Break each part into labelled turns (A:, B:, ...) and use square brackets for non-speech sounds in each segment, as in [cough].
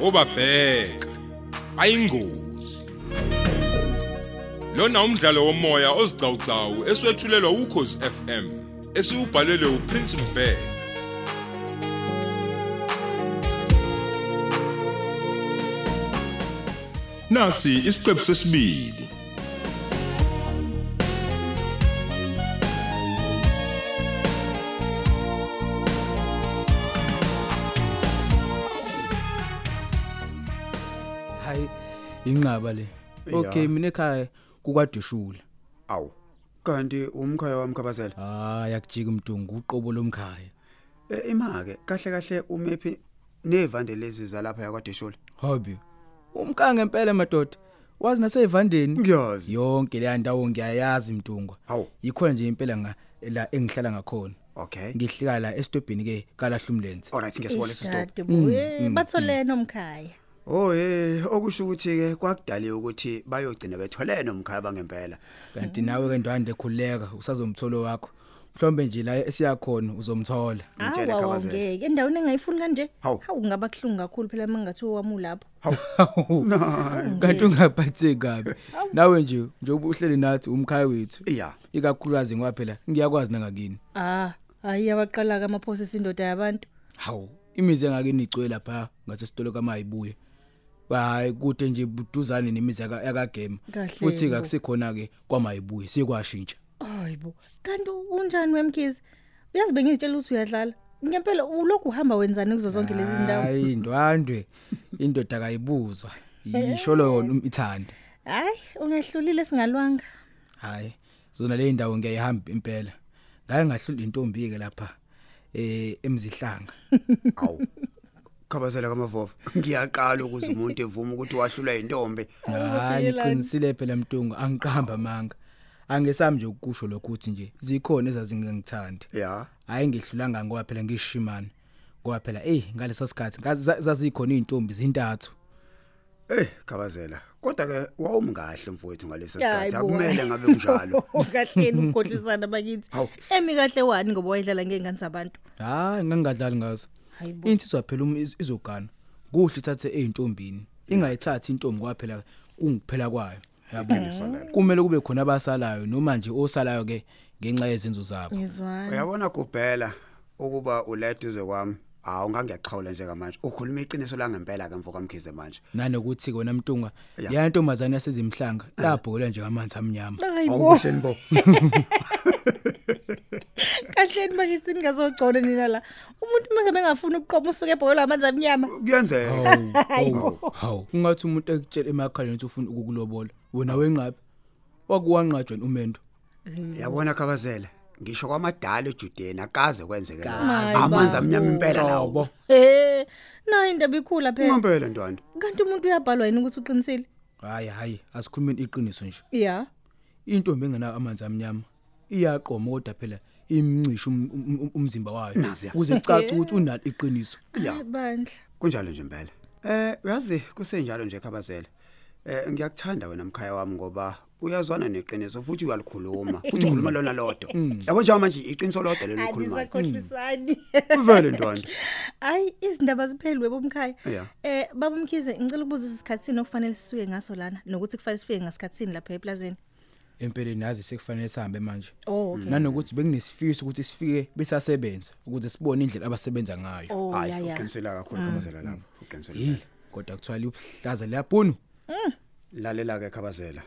A: obabheka ayingozi lona umdlalo womoya ozicawucawu eswetshulelwa ukhozi FM esiubhalelwe uPrince Mbeki Nasi isiqephu sesibili
B: hayi inqaba le okay mina ekhaya kukwadishula
C: awu kanti umkhaya wami kabazela
B: hayi akujika umntungu uqobo lomkhaya
C: Eh, imake kahle kahle umephi nevande lezi zalapha yakwadeshula
B: hobby umkhange ngempela madoda wazi nasevandeni
C: ngiyazi
B: yonke leya ndawo ngiyayazi mntungwa
C: Hawu.
B: yikhona nje impela nga la engihlala ngakhona
C: okay
B: ngihlika la esitobhini ke kalahlumlenze
C: alright ngesibone sisitop
D: Ishadi bo.
C: Mm,
D: Eh, Bathole nomkhaya.
C: oh hey okusho ukuthi ke kwakudaliwe ukuthi bayogcina betholene umkhaya bangempela
B: kanti nawe ke ndwande khuleka usazomtholo wakho mhlombe nje la esiyakhona uzomthola
C: Ngitshele
D: Awu,
C: Khabazela.
D: awungeke endaweni engayifuni kanje.
C: Hawu.
D: Hawu ngaba khlungu kakhulu phela mangathi wami ulapho.
B: kanti ungaphathe kabi nawe nje njengoba uhleli nathi umkhaya wethu
C: iya
B: ikakhulukazi ngoba phela ngiyakwazi nangakini
D: Ah, hayi yabaqala ka maphosi sindoda yabantu.
B: hawu imizi engakini igcwele lapha ngase sitolo kamayibuye hayi kude nje buduzane nemizi yaka- yakagema
D: Kahle
B: futhi
D: bo.
B: akusikhona ke kwamayibuye sikwashintsha
D: Hayibo. Kanti unjani wemkhizi? Uyazi bengizitshela ukuthi uyadlala. Ngempela uloko uhamba wenzani kuzo zonke lezi ndawo?
B: hayi ndwandwe indoda kayibuzwa yisho lona umithanda
D: Hayi, ungehlulile singalwanga.
B: hayi zona le ndawo ngiyayihamba impela ngaye ngahlula intombi ke lapha eh emzihlanga
C: awu khabazela kamavova ngiyaqala ukuze umuntu evume ukuthi wahlulwa yintombi
B: hayi ngiqinisile phela mtungu angiqamba manga angesami nje ukusho lokho uthi nje zikhona ezazingengithandi
C: ya
B: hayi ngihlulanga ngoba phela ngishimana ngoba phela ey ngalesa sikhathi ngazi- za- zazikhona izintombi zintathu
C: Eh khabazela kodwa ke wawumkahle mfowethu ngaleso
D: Hayi
C: sikhathi
D: bo.
C: akumele ngabe kunjalo
D: [laughs] Kahleni ukukhohlisana bakithi.
C: Hawu.
D: Emi kahle wani ngoba wayedlala ngengane zabantu.
B: hayi ngangingadlali ngazo
D: Hayibo.
B: insizwa phela uma iz- izogana kuhle ithathe ezintombini ingayithathi intombi kwaphela kungiphela kwayo yabo kumele kube khona abasalayo noma nje osalayo ke ngenxa yezenzo zabo
D: Ngizwani.
C: uyabona kubhela ukuba uleduze kwami hawu ngangiyaqhawula njengamanje ukhuluma iqiniso langempela ke mfoko kamkhize manje
B: nanokuthi kona mtunga
C: Ya. Eh.
B: yantombazana yasezimhlanga labhola nje ngamanzi
C: [laughs]
B: amnyama
D: Hayibo.
C: awukuhleni bo
D: Kahleni bakithi ningazogcona nina la. Umuntu manje bengafuna ukuqoma usuke ebhola amanzi amnyama.
C: kuyenzeka
B: hawu hawu ungathi umuntu ekutshela emakhaleni ukuthi ufuna ukukulobola wena wenqabe wakuwanqajwa umendo
C: yabona khabazela ngisho kwamadala ejudeni akaze kwenzeke lokho.
D: Kaze.
C: amanzi amnyama impela lawo
B: Ngobo.
D: Eh, nayo indaba ikhula phela.
C: ngempela ntwana
D: Kanti umuntu uyabhalwa yini ukuthi uqinisile?
B: hayi hayi asikhulumeni iqiniso nje
D: Yeah.
B: intombi engenayo amanzi amnyama iyaqoma kodwa phela imncisha um- um- um- umzimba wayo
C: Nazi ya.
B: ukuze kucace ukuthi unalo iqiniso
C: ya
D: Bandla.
C: kunjalo nje impela eh uyazi kusenjalo nje khabazela eh ngiyakuthanda wena mkhaya wami ngoba uyazwana neqiniso futhi uyalikhuluma futhi ukhuluma lona lodwa yabo nje manje iqiniso lodwa lelo ukhuluma
D: Alizakhohlisani.
C: vele ntwana
D: [laughs] Hayi izindaba ziphelwe bomkhaya.
C: Yeah.
D: Eh baba Mkhize ngicela ukubuza isikhatsini okufanele sisuke ngaso lana nokuthi kufanele sifike ngasikhatsini lapha eplazini.
B: empeleni nazi sekufanele sihambe manje
D: Oh okay.
B: nanokuthi bekunesifiso ukuthi sifike besasebenza ukuze sibone indlela abasebenza ngayo
D: Oh
C: hayi
D: yeah yeah. Mm.
C: uqinisela kakhulu khabazela lapho uqinisela
B: Hey, kodwa kuthiwa libuhlaza liyabhunu
C: lalela ke khabazela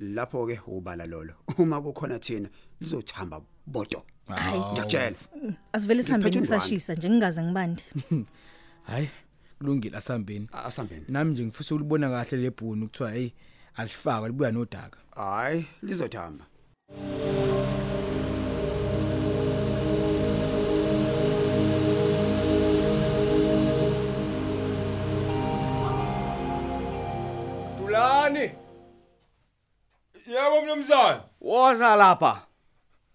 C: lapho ke ubala lolo [laughs] uma kukhona thina lizothamba bodo ngiyakutshela
D: Asivele Mm, sihambe
C: Ngiphethe indwangu.
D: ngisashisa nje ngingaze ngibande. [laughs]
B: hayi kulungile asihambeni
C: asambeni
B: nami nje ngifisa ulibona kahle lebhunu kuthiwa hey alifakwa libuya nodaka
C: hayi lizothamba
E: Dulani,
A: Yebo mnumzane.
E: woza lapha.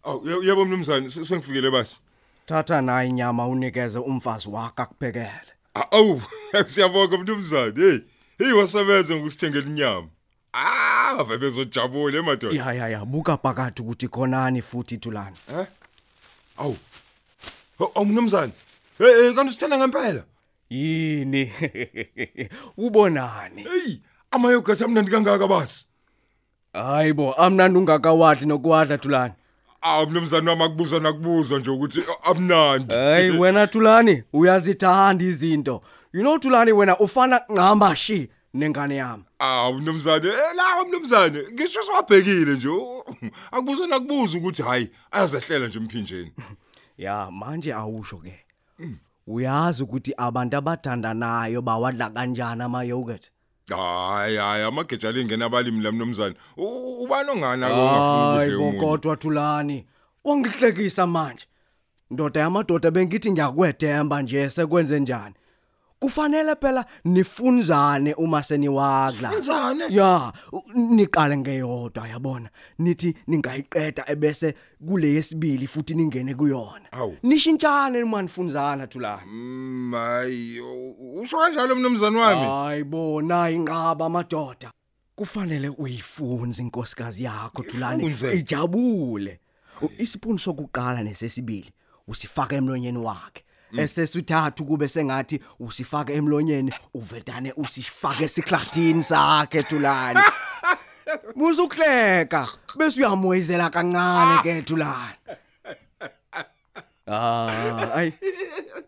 A: Aw yebo mnumzane se- sengifikele basi.
E: Thatha nayi inyama unikeze umfazi wakho akuphekele.
A: Awu [laughs] siyabonga mnumzane. Hey, hey wasebenza ngokusithengela inyama. Ah, vabe bezojabula emadoda.
E: Ya ya ya, buka phakathi ukuthi khonani futhi Dulani.
A: Awu. Aw mnumzane. Hey, hey kanti usithanda ngempela.
E: yini [laughs] ubonani
A: Hey, amayogathi amnandi kangaka basi.
E: hayibo amnandi ungakawadli nokwadla thulani
A: Ah mnumzane wami akubuza nakubuzwa nje ukuthi amnandi.
E: hayi wena thulani uyazithanda izinto you know thulani wena ufana ngqamba shi nengane yami
A: Ah mnumzane, eh, la mnumzane, ngisho siwabhekile nje. u- Akubuza nakubuza ukuthi hayi ayazehlela nje emphinjeni.
E: ya manje awusho ke uyazi ukuthi abantu abathandanayo bawadla kanjani ama-yogurt
A: Hayi hayi amagejala ingena abalimi la mnumzane. U- Ubani ongana akongafuni nje
E: Hayibo,
A: umuntu.
E: kodwa thulani wangihlekisa manje ndoda yamadoda bengithi ngiyakwethemba nje sekwenze njani kufanele phela nifunzane uma seniwakla
A: Sifunzane?
E: ya u- niqale ngeyodwa yabona nithi ningayiqeda ebese kule yesibili futhi ningene kuyona
A: Awu.
E: nishintshane manifunzana thulani
A: Mm, Hayi u- usho kanjalo mnumzane wami.
E: hayibo nayi inqaba amadoda kufanele uyifunze inkosikazi yakho thulani
A: Ifunze.
E: ijabule U- isipunu sokuqala nesesibili usifaka emlonyeni wakhe esesuthathu kube sengathi usifaka emlonyeni uvedane usifake esikhladini sakhe thulani muzukleka bese uyamoyizela kancane ke thulani Ah, ay.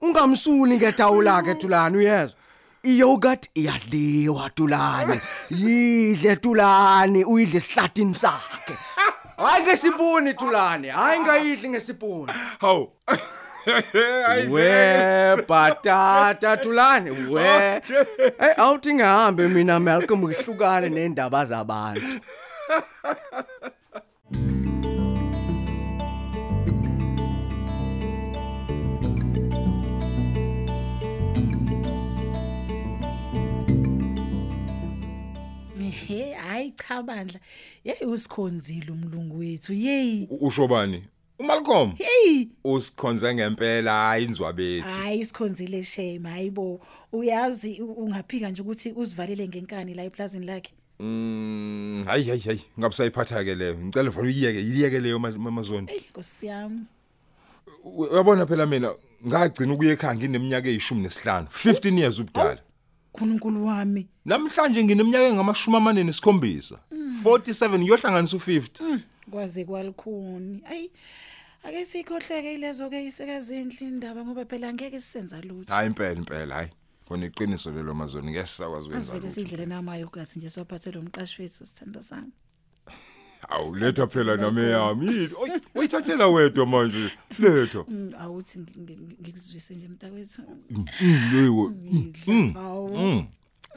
E: Ungamsuli ngetawula ke Thulani uyezwa. Iyogurt iyadliwa Thulani. Yidle Thulani, uyidle sihlatini sakhe. Hayi ngesipuni Thulani, hayi ngayidli ngesipuni.
A: Hawu. [laughs] Hayi,
E: We batata Thulani, we. Hey, awuthi ngihambe mina Malcolm ngihlukane nendaba zabantu.
D: Ehe, hayi cha bandla. Yeyi usikhonzile umlungu wethu. Yeyi.
A: Usho bani? UMalcolm
D: Hey,
A: usikhonze ngempela hayi inzwa bethu.
D: hayi isikhonzile shame hayibo. Uyazi u- ungaphika nje ukuthi uzivalele ngenkani la eplazini lakhe.
A: Mm, hayi hayi hayi ngabusayiphatha ke leyo ngicela vele uyiyeke yiyeke leyo ma- ma- mazoni
D: Ey Nkosi yami.
A: U- uyabona phela mina ngagcina ukuye ekhaya ngineminyaka eyishumi nesihlanu 15 years ubudala
D: KuNkulunkulu wami.
A: namhlanje ngineminyaka engamashumi amane nesikhombisa 47 iyohlanganisa u50
D: kwaze kwalikhuni ayi ake sikhohleke ilezo ke isekazinhle indaba ngoba phela ngeke sisenza lutho
A: hayi impela impela hayi kona iqiniso lelo mazoni ngeke sisakwazi ukwenza
D: asivele
A: lutho.
D: sidlele namayo kathi nje sophathe lo mqashi wethu sithando sami
A: awu letha phela nami yami Oy, uyithathela wedwa manje letha
D: Mm, awuthi ngi- ngi- ngi- ngikuzwise nje mntakwethu
A: yiwe
D: ngidla hawu
A: Mm.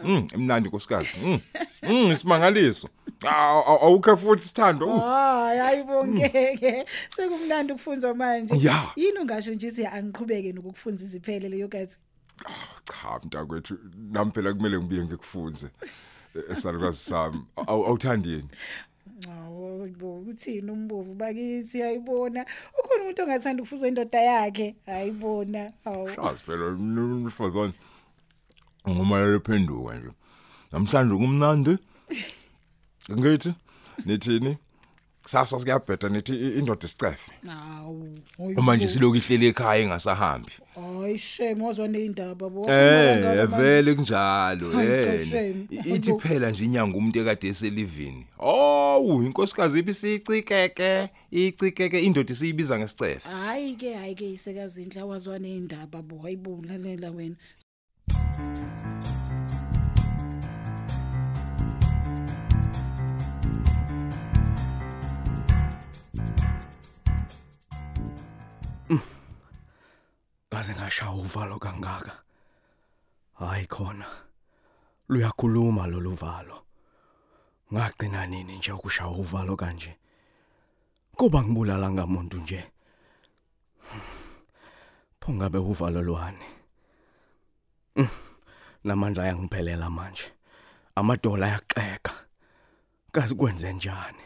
A: Mm, emnandi nkosikazi. Mm. Mm, isimangaliso. Aw- aw- Awukho futhi sithando. Uh.
D: hayi ayibongeke sekumnandi ukufunza manje
A: Ya.
D: yini ungasho nje ukuthi angiqhubeke nokukufunza iziphele leyo kathi
A: cha mntakwethu nami phela kumele ngibuye ngikufunze Eh, esalukazi sami Aw- awuthandi yini
D: hawu bo uthini umbovu bakithi ayibona ukhona umuntu ongathanda ukufuza indoda yakhe ayibona hawu
A: shazi phela mfazane ngumalelo phenduka nje namhlanje kumnandi ngithi nithini kusasa sikuyabheda nithi i- indoda isicefe
D: Hawu.
A: uma nje silokhu ihleli ekhaya engasahambi
D: Hayi shame wazwa neindaba bo.
A: Eh vele kunjalo
D: Hayi,
A: yena.
D: Xesheni.
A: I- Ithi phela nje inyanga umuntu ekade eselivini. Oh, inkosikazi ibisicikeke, icikeke indoda isiyibiza ngesicefe.
D: Hayi ke hayi ke isekazindla wazwa neindaba bo. Hayibo lalela wena.
E: Ngaze ngashaya uvalo kangaka. Hayi khona. Luyakhuluma lo luvalo. Ngagcina nini nje ukushaya uvalo kanje? Kuba ngibulala ngamuntu nje. Phongabe uvalo lwani. Mm, Namandla ayangiphelela manje. Amadola ayaxeka. Kazi kwenze njani?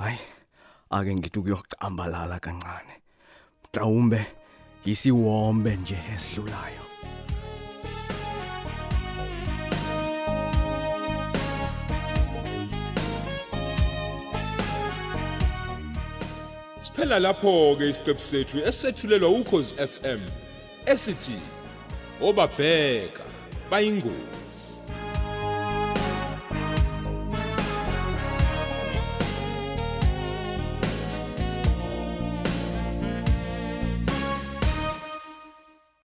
E: Hayi, ake ngithi kuyocambalala kancane. mhlawumbe yisiwombe nje esidlulayo
A: Siphela lapho ke isiqephu sethu esethulelwa ukhozi FM. esithi obabheka bayingozi